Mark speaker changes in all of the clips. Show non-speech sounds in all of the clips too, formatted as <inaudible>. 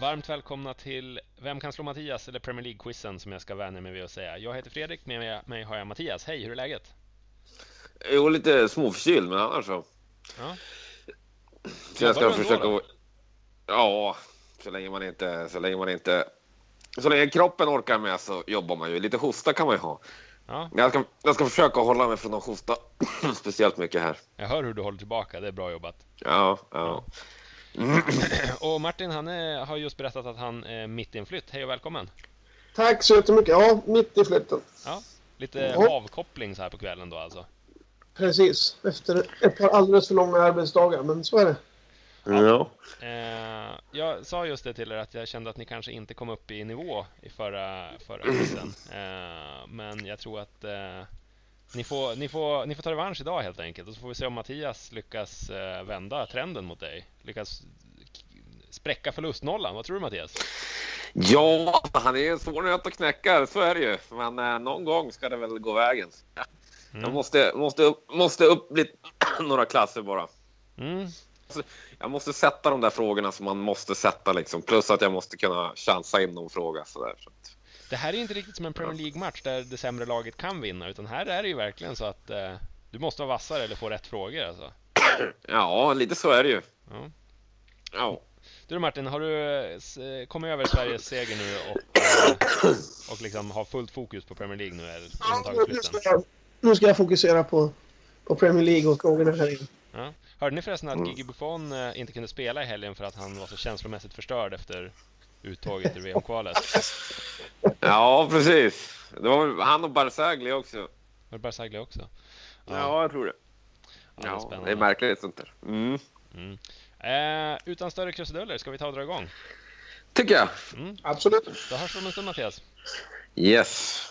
Speaker 1: Varmt välkomna till Vem kan slå Mattias? Eller Premier League-quizen som jag ska vänja mig vid att säga. Jag heter Fredrik, med mig har jag Mattias. Hej, hur är läget?
Speaker 2: Jo, lite småförkyld, men annars så.
Speaker 1: Ja.
Speaker 2: så jag
Speaker 1: Jobbar
Speaker 2: ska
Speaker 1: du ändå,
Speaker 2: försöka...
Speaker 1: då?
Speaker 2: Ja, så länge man inte... Så länge man inte... Så länge kroppen orkar med så jobbar man ju. Lite hosta kan man ju ha.
Speaker 1: Ja,
Speaker 2: Men Jag ska, jag ska försöka hålla mig från att hosta <clears throat> speciellt mycket här.
Speaker 1: jag hör hur du håller tillbaka, det är bra jobbat. <clears throat>
Speaker 2: Ja, ja.
Speaker 1: Och Martin, han är, har just berättat att han är mitt i en flytt. Hej och välkommen!
Speaker 3: Tack så jättemycket. Ja, mitt i flytten.
Speaker 1: Ja, lite
Speaker 3: Ja.
Speaker 1: avkoppling så här på kvällen då alltså.
Speaker 3: Precis. Efter ett par alldeles för långa arbetsdagar, men så är det.
Speaker 2: ja.
Speaker 1: Eh, jag sa just det till er att jag kände att ni kanske inte kom upp i nivå i förra, förra quizen. Eh, men jag tror att eh, ni, får, ni, får, ni får ta revansch idag helt enkelt. Och så får vi se om Mattias lyckas eh, vända trenden mot dig. Lyckas k- spräcka förlustnollan. Vad tror du Mattias?
Speaker 2: ja, han är ju en svår nöt att knäcka, så är det ju. Men eh, någon gång ska det väl gå vägen. Jag
Speaker 1: Mm.
Speaker 2: måste, måste, upp, måste upp lite, <clears throat> några klasser bara.
Speaker 1: Mm.
Speaker 2: Jag måste sätta de där frågorna som man måste sätta liksom. Plus att jag måste kunna chansa in någon fråga sådär. Så att,
Speaker 1: Det här är ju inte riktigt som en Premier League-match där det sämre laget kan vinna. Utan här är det ju verkligen så att eh, du måste vara vassare eller få rätt frågor alltså.
Speaker 2: ja, lite så är det ju.
Speaker 1: Ja.
Speaker 2: Ja.
Speaker 1: Du Martin, har du eh, s- eh, kommit över Sveriges seger nu och, eh, och liksom har fullt fokus på Premier League nu? Eller liksom tagit
Speaker 3: nu, ska
Speaker 1: flytten?
Speaker 3: jag, nu ska jag fokusera på, på Premier League och frågorna här inne.
Speaker 1: Ja. Hörde ni förresten att
Speaker 2: Mm.
Speaker 1: Gigi Buffon eh, inte kunde spela i helgen för att han var så känslomässigt förstörd efter uttåget ur VM-kvalet?
Speaker 2: ja, precis. Det var väl han och Barzagli också.
Speaker 1: Var det Barzagli också?
Speaker 2: Ja, jag tror det.
Speaker 1: det är
Speaker 2: Ja, det är,
Speaker 1: spännande.
Speaker 2: märkligt sånt där. Mm.
Speaker 1: Mm. Eh, utan större krusiduller, ska vi ta och dra igång?
Speaker 2: Tycker jag.
Speaker 1: Mm.
Speaker 3: Absolut.
Speaker 1: Då hörs vi om en stund Mattias.
Speaker 2: Yes.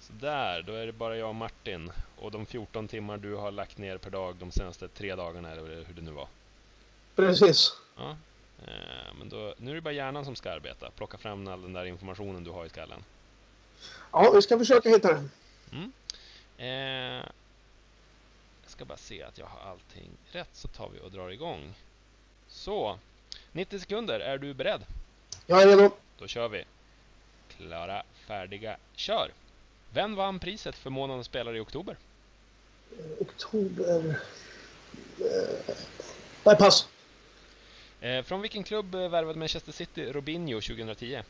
Speaker 1: Sådär, då är det bara jag och Martin och de 14 timmar du har lagt ner per dag de senaste tre dagarna eller hur det nu var.
Speaker 3: Precis.
Speaker 1: Ja, eh, men då, nu är det bara hjärnan som ska arbeta. Plocka fram all den där informationen du har i skallen.
Speaker 3: Ja, vi ska försöka hitta den.
Speaker 1: Eh, jag ska bara se att jag har allting rätt så tar vi och drar igång. Så, 90 sekunder. Är du beredd?
Speaker 3: Jag är redo.
Speaker 1: Då kör vi. Klara, färdiga, kör! Vem vann priset för månadens spelare i oktober?
Speaker 3: Oktober... Eh, nej, pass.
Speaker 1: Eh, från vilken klubb eh, värvade Manchester City Robinho 2010?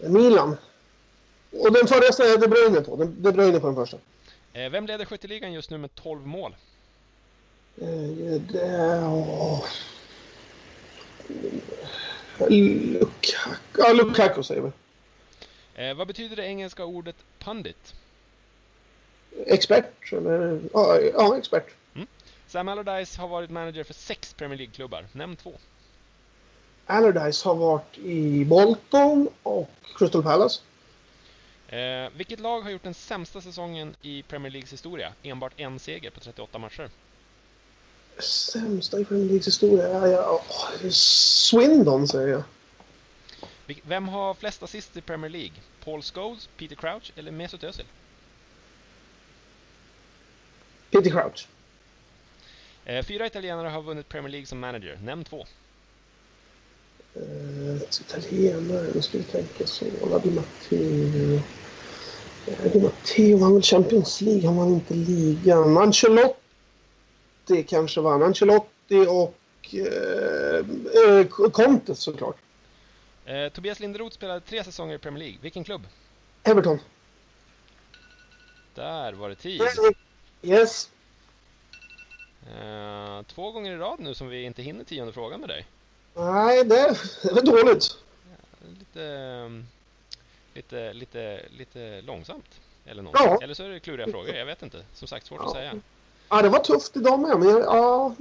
Speaker 3: Milan. Och den förra ställde jag De Bruyne på. Den- De Bruyne på den första.
Speaker 1: Eh, vem leder skytteligan just nu med 12 mål?
Speaker 3: Eh, det... åh. Lukaku. Ja, Lukaku säger vi.
Speaker 1: Eh, vad betyder det engelska ordet pundit?
Speaker 3: Expert, eller? Ja, ja expert.
Speaker 1: Sam Allardyce har varit manager för sex Premier League-klubbar. Nämn två.
Speaker 3: Allardyce har varit i Bolton och Crystal Palace.
Speaker 1: Eh, vilket lag har gjort den sämsta säsongen i Premier Leagues historia? Enbart en seger på 38 matcher.
Speaker 3: Sämsta i Premier Leagues historia? Ja, ja, åh, Swindon säger jag.
Speaker 1: Vil- vem har flest assist i Premier League? Paul Scholes, Peter Crouch eller Mesut Özil?
Speaker 3: Peter Crouch.
Speaker 1: Eh, fyra italienare har vunnit Premier League som manager. Nämn två.
Speaker 3: Eh, italienare, nu ska vi tänka så. La Di Matteo. Eh, Di Matteo han vann Champions League, han vann inte ligan. Ancelotti kanske vann. Ancelotti och eh, eh, Conte såklart.
Speaker 1: Eh, Tobias Linderoth spelade tre säsonger i Premier League. Vilken klubb?
Speaker 3: Everton.
Speaker 1: Där var det tid.
Speaker 3: Yes.
Speaker 1: Eh, två gånger i rad nu som vi inte hinner tionde frågan med dig.
Speaker 3: Nej, det det var dåligt.
Speaker 1: Lite, ehm, lite, lite, lite långsamt. Eller, något.
Speaker 3: Ja.
Speaker 1: eller så är det kluriga frågor. Jag vet inte. Som sagt, svårt att
Speaker 3: Ja.
Speaker 1: säga.
Speaker 3: Ja, det var tufft idag med, men jag, ja,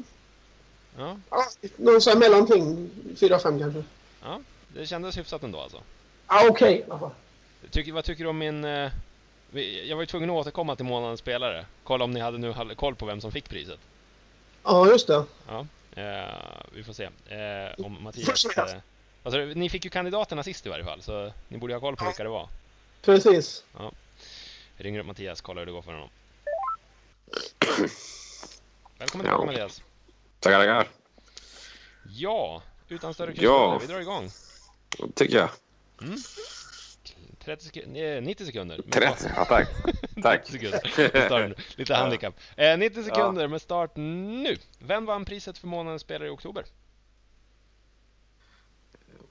Speaker 1: Ja.
Speaker 3: ja, någon sån här mellanting. 4-5 kanske.
Speaker 1: Det kändes hyfsat ändå alltså.
Speaker 3: Ja, okej i alla fall.
Speaker 1: Tycker, vad tycker du om min... eh, vi- Jag var ju tvungen att återkomma till månadens spelare. Kolla om ni hade nu hade koll på vem som fick priset.
Speaker 3: Ja, just det.
Speaker 1: Eh, vi får se eh, om Mattias... eh, alltså, ni fick ju kandidaterna sist i varje fall, så ni borde ha koll på vilka det var.
Speaker 3: Precis.
Speaker 1: Jag ringer upp Mattias, kollar hur det går för honom. Välkommen
Speaker 2: Ja.
Speaker 1: tillbaka Mattias.
Speaker 2: Tackar, tackar.
Speaker 1: Ja, Utan större
Speaker 2: Ja.
Speaker 1: krusiduller, vi drar igång.
Speaker 2: tycker jag.
Speaker 1: Mm. 30 sek- eh, 90 sekunder. med
Speaker 2: 30, ja, <laughs> tack. Tack.
Speaker 1: 30 sekunder. Med start nu. Lite handikapp. Eh, 90 sekunder med start nu. Vem vann priset för månadens spelare i oktober?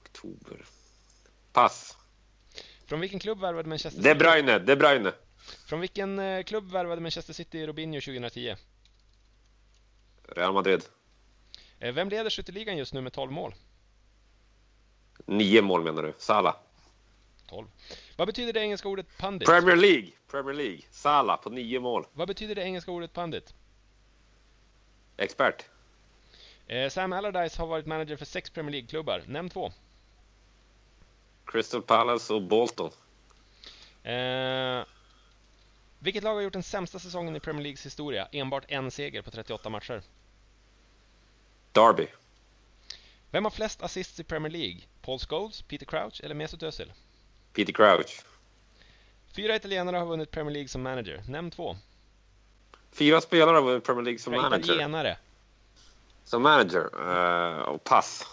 Speaker 2: Oktober. Pass.
Speaker 1: Från vilken klubb värvade Manchester
Speaker 2: De
Speaker 1: City?
Speaker 2: Bruyne, De Bruyne.
Speaker 1: Från vilken eh, klubb värvade Manchester City Robinho 2010?
Speaker 2: Real Madrid.
Speaker 1: Eh, Vem leder skytteligan just nu med 12 mål?
Speaker 2: Nio mål menar du? Sala.
Speaker 1: 12. Vad betyder det engelska ordet pundit?
Speaker 2: Premier League. Premier League. Sala på nio mål.
Speaker 1: Vad betyder det engelska ordet pundit?
Speaker 2: Expert.
Speaker 1: Eh, Sam Allardyce har varit manager för sex Premier League-klubbar. Nämn två.
Speaker 2: Crystal Palace och Bolton.
Speaker 1: Eh, vilket lag har gjort den sämsta säsongen i Premier Leagues historia? Enbart en seger på 38 matcher.
Speaker 2: Derby.
Speaker 1: Vem har flest assists i Premier League? Paul Scholes, Peter Crouch eller Mesut Özil?
Speaker 2: Peter Crouch.
Speaker 1: Fyra italienare har vunnit Premier League som manager. Nämn två.
Speaker 2: Fyra spelare har vunnit Premier League som
Speaker 1: Fyra
Speaker 2: manager.
Speaker 1: italienare.
Speaker 2: Som manager. Eh, och pass.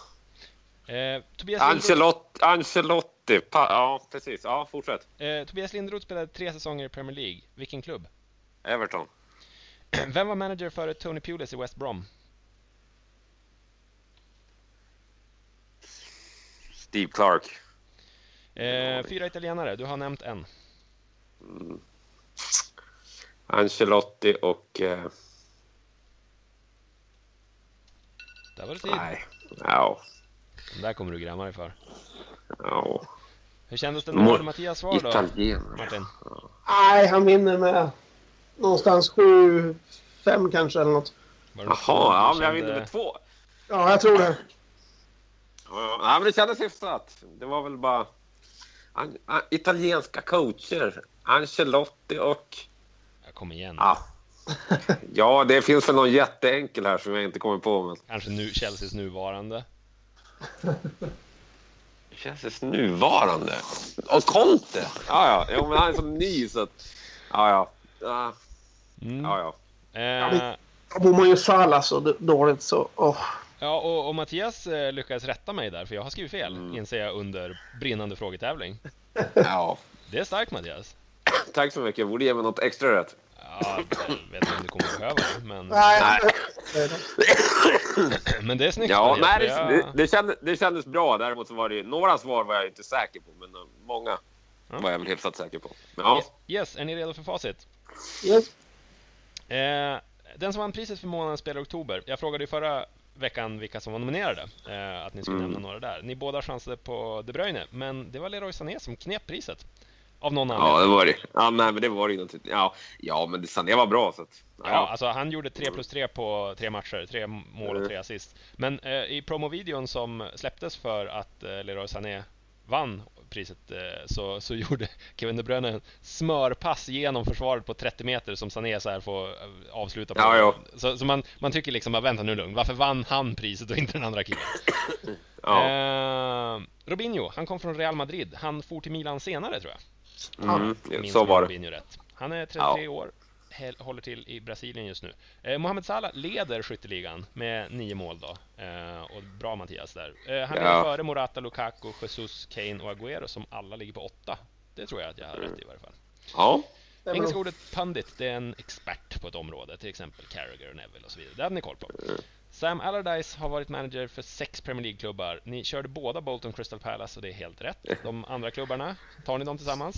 Speaker 1: Eh, Tobias, Lindroth,
Speaker 2: Ancelotti. Ancelotti. Pa- ja, precis. Ja, fortsätt.
Speaker 1: eh, Tobias Lindroth spelade tre säsonger i Premier League. Vilken klubb? <clears throat>
Speaker 2: Everton.
Speaker 1: Vem var manager före Tony Pulis i West Brom?
Speaker 2: Steve Clark.
Speaker 1: Eh, fyra italienare. Du har nämnt en.
Speaker 2: Ancelotti och... eh,
Speaker 1: Där var det tid.
Speaker 2: nej. Ja.
Speaker 1: Den där kommer du grämma dig för.
Speaker 2: ja.
Speaker 1: Hur kändes det
Speaker 2: Mål.
Speaker 1: när Mattias svar då,
Speaker 2: Italienare.
Speaker 1: Martin?
Speaker 3: Nej, han vinner med någonstans 7-5 kanske eller något.
Speaker 1: Var det
Speaker 2: Jaha,
Speaker 1: något som du
Speaker 2: ja, men jag
Speaker 1: kände-
Speaker 2: vinner med två.
Speaker 3: Ja, jag tror det.
Speaker 2: Ja, ja, men det kändes hyfsat. Det var väl bara an, an, italienska coacher. Ancelotti och...
Speaker 1: Ja, Kom igen.
Speaker 2: Ah. Ja, det finns väl någon jätteenkel här som jag inte kommer på. Men...
Speaker 1: Kanske nu, Chelseas nuvarande.
Speaker 2: Det känns nuvarande. Och Conte! Ja, ja. Jo, men han är så ny så att... Ja, ja. Ja,
Speaker 1: Mm.
Speaker 2: ja. ja.
Speaker 1: Eh,
Speaker 3: <laughs> Då bor man ju Salah så d- dåligt så... Åh.
Speaker 1: ja, och, och Mattias eh, lyckades rätta mig där, för jag har skrivit fel,
Speaker 2: Mm.
Speaker 1: inser jag under brinnande frågetävling.
Speaker 2: ja.
Speaker 1: Det är starkt Mattias.
Speaker 2: Tack så mycket. Borde ge mig något extra rätt. <laughs>
Speaker 1: Ja, jag vet inte om du kommer behöva det, men,
Speaker 3: Nej.
Speaker 1: men det är snyggt
Speaker 2: Ja, nej,
Speaker 1: Mattias.
Speaker 2: det,
Speaker 1: för
Speaker 2: det,
Speaker 1: jag-
Speaker 2: det, kändes, det kändes bra. Däremot så var det ju, några svar var jag inte säker på, men eh, många
Speaker 1: Ja.
Speaker 2: var jag väl hyfsat säker på. Men, ja.
Speaker 1: Yes, är ni redo för facit?
Speaker 3: Yes.
Speaker 1: Eh, den som vann priset för månadens spelare i oktober. Jag frågade ju förra veckan vilka som var nominerade. Eh, att ni skulle
Speaker 2: Mm.
Speaker 1: nämna några där. Ni båda chansade på De Bruyne, men det var Leroy Sané som knep priset. Av någon anledning.
Speaker 2: ja, det var det. Ja, nej, men det var det ju naturligtvis. Ja, ja, men det Sané var bra så att, ja,
Speaker 1: Ja, alltså han gjorde 3 plus 3 på tre matcher, tre mål och
Speaker 2: Mm.
Speaker 1: tre assist. Men eh, i promovideon som släpptes för att eh, Leroy Sané vann priset eh, så, så <laughs> gjorde Kevin De Bruyne en smörpass genom försvaret på 30 meter som Sané så här får eh, avsluta på.
Speaker 2: Ja, ja.
Speaker 1: Så, så man, man tycker liksom, "Ah, vänta nu lugn, varför vann han priset och inte den andra killen?
Speaker 2: ja.
Speaker 1: Eh, Robinho, han kom från Real Madrid, han for till Milan senare tror jag.
Speaker 2: Mm,
Speaker 1: Minns
Speaker 2: så
Speaker 1: jag
Speaker 2: var det.
Speaker 1: Robinho rätt. Han är 33 år, häl- håller till i Brasilien just nu. Eh, Mohamed Salah leder skytteligan med nio mål då. Eh, och bra Mattias där. Eh, han
Speaker 2: Ja.
Speaker 1: ligger före Morata, Lukaku, Jesus, Kane och Agüero som alla ligger på åtta. Det tror jag att jag har rätt i i varje fall.
Speaker 2: Mm. Ja,
Speaker 3: Det är
Speaker 1: Engelska
Speaker 3: bra.
Speaker 1: ordet pundit, det är en expert på ett område, till exempel Carragher och Neville och så vidare. Det hade ni koll på.
Speaker 2: Mm.
Speaker 1: Sam Allardyce har varit manager för sex Premier League-klubbar. Ni körde båda Bolton Crystal Palace och det är helt rätt. De andra klubbarna, tar ni dem tillsammans?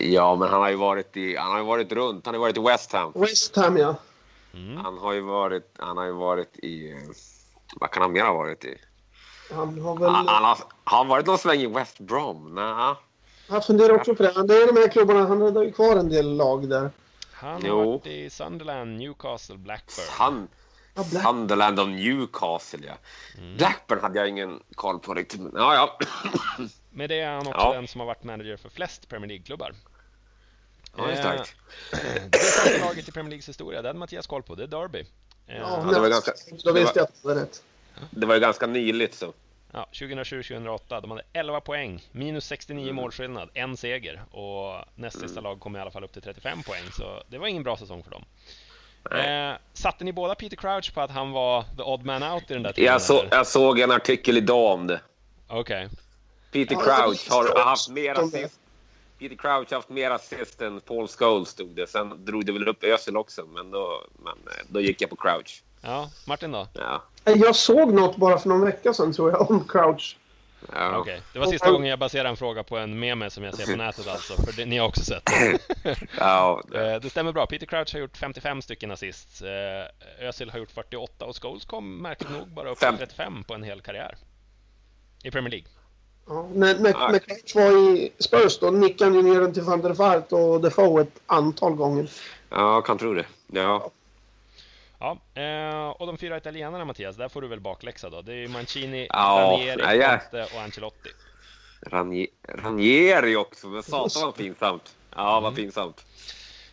Speaker 2: ja, men han har ju varit i, han har ju varit runt. Han har ju varit i West Ham.
Speaker 3: West Ham ja.
Speaker 1: Mm.
Speaker 2: Han har ju varit, han har ju varit i, eh, vad kan han mer ha varit i?
Speaker 3: Han har
Speaker 2: Han, han
Speaker 3: väl...
Speaker 2: har, har han varit någon sväng i West Brom? Nej.
Speaker 3: Han funderar också på det. Det är de här klubbarna. Han har ju kvar en del lag där.
Speaker 1: Han har
Speaker 2: Jo.
Speaker 1: varit i Sunderland, Newcastle, Blackburn.
Speaker 2: Han,
Speaker 3: Ja, Black.
Speaker 2: Sunderland och Newcastle ja. Blackburn hade jag ingen koll på riktigt. Men, ja, ja. <clears throat>
Speaker 1: Med det är han också
Speaker 2: Ja.
Speaker 1: den som har varit manager för flest Premier League-klubbar. Eh,
Speaker 2: ja det är starkt.
Speaker 1: Det första laget i Premier Leagues historia, det hade Mattias koll på, det är Derby. Eh,
Speaker 3: Ja,
Speaker 2: det var
Speaker 3: nej.
Speaker 2: ganska- det
Speaker 3: Då visste
Speaker 2: var-
Speaker 3: jag att det var rätt.
Speaker 2: Det var ju ganska nyligt så.
Speaker 1: Ja, 2007-2008, de hade 11 poäng, minus 69
Speaker 2: Mm.
Speaker 1: målskillnad, en seger och näst sista lag kom i alla fall upp till 35 poäng, så det var ingen bra säsong för dem. Eh, satte ni båda Peter Crouch på att han var the odd man out i den där
Speaker 2: Jag, så,
Speaker 1: eller?
Speaker 2: jag såg en artikel idag om det.
Speaker 1: Okej.
Speaker 2: Peter
Speaker 3: Ja,
Speaker 2: Crouch
Speaker 3: jag
Speaker 2: har
Speaker 3: visste
Speaker 2: haft
Speaker 3: också
Speaker 2: mer
Speaker 3: det.
Speaker 2: assist. Peter Crouch har haft mer assist än Paul Scholes, stod det. Sen drog det väl upp Özil också, men då, men eh, då gick jag på Crouch.
Speaker 1: Ja, Martin då?
Speaker 2: Ja,
Speaker 3: Jag såg något bara för någon vecka sedan tror jag om Crouch.
Speaker 2: ja.
Speaker 1: Okej, det var sista
Speaker 3: Och-
Speaker 1: gången jag baserade en fråga på en meme som jag ser på nätet alltså, för det, ni har också sett det.
Speaker 2: <laughs> ja.
Speaker 1: Eh, det stämmer bra, Peter Crouch har gjort 55 stycken assist, eh, Özil har gjort 48 och Scholes kom märkligt nog bara upp till
Speaker 2: Fem.
Speaker 1: 35 på en hel karriär. I Premier League.
Speaker 3: Ja, när, när,
Speaker 2: Ja.
Speaker 3: när Crouch var i Spurs då nickade han ju ner den till van der Vaart och Defoe ett antal gånger.
Speaker 2: ja, kan tro det. Ja.
Speaker 1: Ja, eh, och de fyra italienarna Mattias, där får du väl bakläxa då. Det är ju Mancini,
Speaker 2: Ja,
Speaker 1: Ranieri,
Speaker 2: nej, jag-
Speaker 1: Conte och Ancelotti.
Speaker 2: Ranier- Ranieri också, men satan vad pinsamt. Ja, vad pinsamt.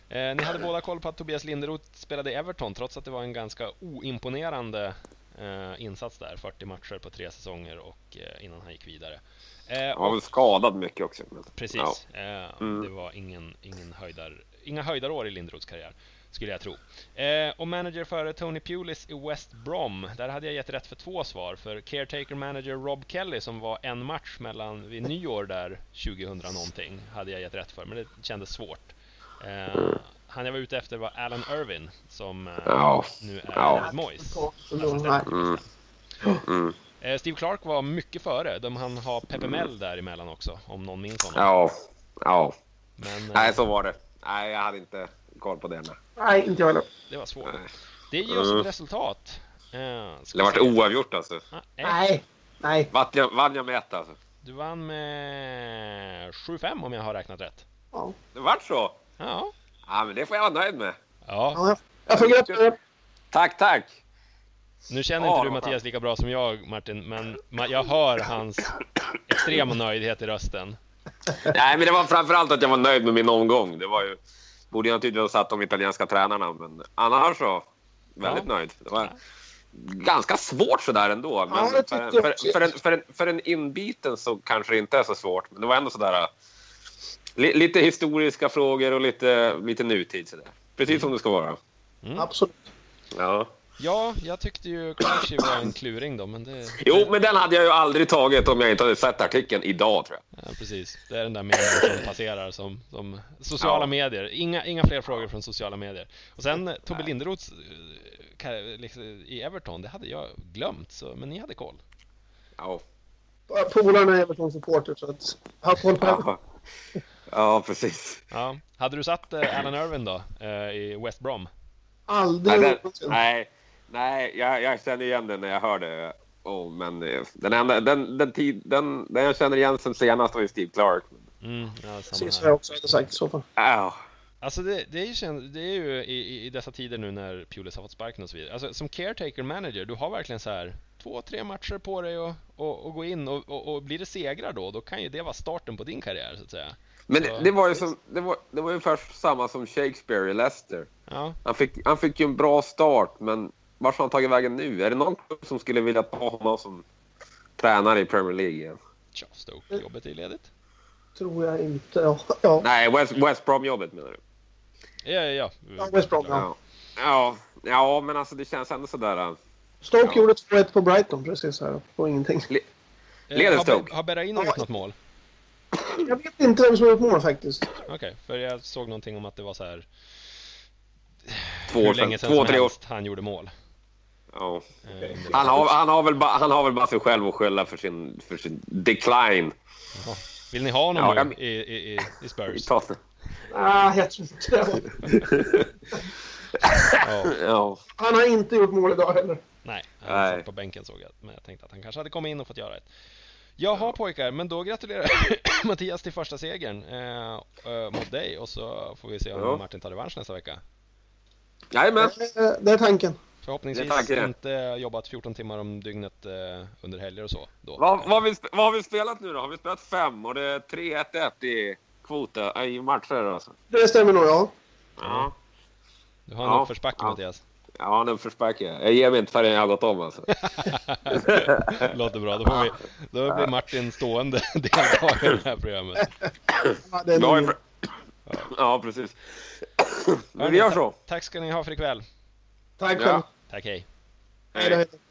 Speaker 1: Eh, ni hade båda koll på att Tobias Linderoth spelade i Everton trots att det var en ganska oimponerande eh, insats där. 40 matcher på tre säsonger och eh, innan han gick vidare. Eh,
Speaker 2: Han var
Speaker 1: och,
Speaker 2: väl skadad mycket också. Men, Ja.
Speaker 1: precis, eh,
Speaker 2: Mm.
Speaker 1: det var ingen, ingen höjdar, inga höjdarår i Linderoths karriär skulle jag tro. Eh, och manager före Tony Pulis i West Brom, där hade jag gett rätt för två svar. För caretaker manager Rob Kelly som var en match mellan vid nyår där 2000 någonting hade jag gett rätt för, men det kändes svårt. Eh, han jag var ute efter var Alan Irvin som eh,
Speaker 2: Ja.
Speaker 1: nu är
Speaker 2: Ja.
Speaker 1: David Moyes.
Speaker 3: Så då, nej.
Speaker 2: Mm. Mm.
Speaker 1: Eh, Steve Clark var mycket före, de han har Pepe Mel däremellan också om någon minns honom.
Speaker 2: Ja. Ja.
Speaker 1: Men eh,
Speaker 2: Nej, så var det. Nej, jag hade inte koll på det. nej.
Speaker 3: Nej, inte jag heller.
Speaker 1: det var svårt.
Speaker 2: Nej.
Speaker 1: Det ger oss
Speaker 2: Mm.
Speaker 1: ett resultat. Eh, ska
Speaker 2: Det
Speaker 1: vi
Speaker 2: vart
Speaker 1: se.
Speaker 2: oavgjort alltså.
Speaker 1: Ah, ett.
Speaker 3: Nej. Nej.
Speaker 2: Vann jag, vann jag med ett alltså.
Speaker 1: Du vann med 7-5 om jag har räknat rätt.
Speaker 3: Ja.
Speaker 2: Det vart så.
Speaker 1: Ja.
Speaker 2: Ja, men det får jag vara nöjd med.
Speaker 1: ja.
Speaker 3: Ja, jag- jag får greppa det.
Speaker 2: Tack, tack.
Speaker 1: Nu känner
Speaker 2: Ja,
Speaker 1: inte du
Speaker 2: vad skönt.
Speaker 1: Mattias lika bra som jag Martin, men ma- jag hör hans extrema nöjdhet i rösten.
Speaker 2: Nej, men det var framförallt att jag var nöjd med min omgång. Det var ju... Borde jag naturligtvis ha satt de italienska tränarna, men annars så... Väldigt
Speaker 1: Ja.
Speaker 2: nöjd. Det var ganska svårt sådär ändå. Men
Speaker 3: det tyckte
Speaker 2: för, en,
Speaker 3: jag
Speaker 2: för,
Speaker 3: också.
Speaker 2: för, en, för, en, för en inbiten så kanske det inte är så svårt. Men det var ändå sådär... äh, Li, lite historiska frågor och lite, lite nutid. Sådär. Precis som det ska vara.
Speaker 3: Absolut.
Speaker 2: Ja.
Speaker 1: Ja, jag tyckte ju Crunchy var en kluring då, men det...
Speaker 2: Jo, men den hade jag ju aldrig tagit om jag inte hade sett artikeln idag, tror jag.
Speaker 1: Ja, precis. Det är den där meningen som passerar som, som sociala
Speaker 2: Ja.
Speaker 1: medier. Inga, inga fler frågor från sociala medier. Och sen eh, Tobbe Linderoths eh, kar- liksom, i Everton, det hade jag glömt, så, men ni hade koll.
Speaker 2: Ja.
Speaker 3: Polarna är Everton-supporter så att... Jag har koll på det.
Speaker 2: Ja, ja precis.
Speaker 1: Ja. Hade du satt eh, Alan Irvin då, eh, i West Brom?
Speaker 3: Aldrig
Speaker 2: Nej, den,
Speaker 3: någonsin.
Speaker 2: nej, nej jag, jag känner igen den när jag hör det. Oh, men eh, den, enda, den, den, tid, den, den jag känner igen sen senast var ju Steve Clark.
Speaker 1: Mm, ja, samma
Speaker 3: Precis
Speaker 1: här.
Speaker 3: vad jag också hade sagt i så fall.
Speaker 2: Ja,
Speaker 1: Alltså det, det, är ju, kän- det är ju i, i- i dessa tider nu när Pulis har fått sparken och så vidare. Alltså som caretaker manager, du har verkligen så här två, tre matcher på dig och, och, och gå in och, och, och blir det segrar då, då kan ju det vara starten på din karriär så att säga.
Speaker 2: Men
Speaker 1: Ja.
Speaker 2: det var ju som, det var, det var ungefär samma som Shakespeare i Leicester.
Speaker 1: Ja,
Speaker 2: Han fick, han fick ju en bra start, men vart har han tagit vägen nu? Är det någon klubb som skulle vilja ta honom som tränare i Premier League igen?
Speaker 1: tja, Stoke, jobbet är ledigt.
Speaker 3: Tror jag inte. Ja, ja.
Speaker 2: Nej, West, West Brom-jobbet menar du?
Speaker 1: Ja, ja,
Speaker 3: Ja,
Speaker 1: ja.
Speaker 3: West Brom, ja.
Speaker 2: Ja. Ja, ja, men alltså det känns ändå sådär. eh,
Speaker 3: Stoke
Speaker 2: Ja.
Speaker 3: gjorde 2-1 på Brighton precis här. På ingenting.
Speaker 1: Eh,
Speaker 2: Leder
Speaker 1: har-
Speaker 2: Stoke.
Speaker 1: Har Berraino gjort något mål?
Speaker 3: Jag vet inte vem som har gjort mål faktiskt.
Speaker 1: Okej, för jag såg någonting om att det var så här
Speaker 2: Två år
Speaker 1: hur
Speaker 2: sedan.
Speaker 1: länge
Speaker 2: Två,
Speaker 1: sedan som
Speaker 2: tre år.
Speaker 1: helst han gjorde mål.
Speaker 2: Ja.
Speaker 1: Eh, under-
Speaker 2: Han, har, han, har väl bara, han har väl bara sig själv att skylla för sin, för sin decline.
Speaker 1: Jaha. Vill ni ha honom
Speaker 2: Ja,
Speaker 1: nu
Speaker 2: jag-
Speaker 1: i, i, i, i
Speaker 2: i
Speaker 1: Spurs?
Speaker 2: Tottenham.
Speaker 3: Ah, jag tror inte det.
Speaker 1: Ja.
Speaker 2: Ja.
Speaker 3: Han har inte gjort mål idag heller.
Speaker 1: <laughs> Nej, han
Speaker 2: Nej.
Speaker 1: satt på bänken såg jag. Men jag tänkte att han kanske hade kommit in och fått göra ett. Jaha pojkar, men då gratulerar <coughs> Mattias till första segern eh, eh, mot dig och så får vi se om
Speaker 2: Ja.
Speaker 1: Martin tar revansch nästa vecka.
Speaker 2: Jajamän.
Speaker 3: Det är- Det är tanken.
Speaker 1: Förhoppningsvis
Speaker 2: Det är tanken.
Speaker 1: inte jobbat 14 timmar om dygnet eh, under helger och så. Då.
Speaker 2: Vad, vad, har vi, sp- vad har vi spelat nu då? Har vi spelat fem och det är 3-1-1 i kvoten, äh, i matcher alltså?
Speaker 3: Det stämmer nog, ja.
Speaker 2: Ja,
Speaker 1: Du har en
Speaker 2: Ja.
Speaker 1: uppförsbacke
Speaker 2: Ja. <laughs>
Speaker 1: Mattias. <laughs>
Speaker 2: ja den förstärker jag. Jag ger mig inte förrän jag har gått om <laughs> alltså.
Speaker 1: Låter bra, då, får vi, då blir Martin stående <laughs> deltagare i det här programmet.
Speaker 3: Ja, det
Speaker 2: <clears throat>
Speaker 3: är
Speaker 2: Vi har ju
Speaker 3: nog-
Speaker 2: <clears throat> fr- Ja, precis. Men vi gör så.
Speaker 1: Tack ska ni ha för ikväll. Tack
Speaker 4: Ja.
Speaker 1: själv.
Speaker 3: Tack, hej.
Speaker 1: Hej då.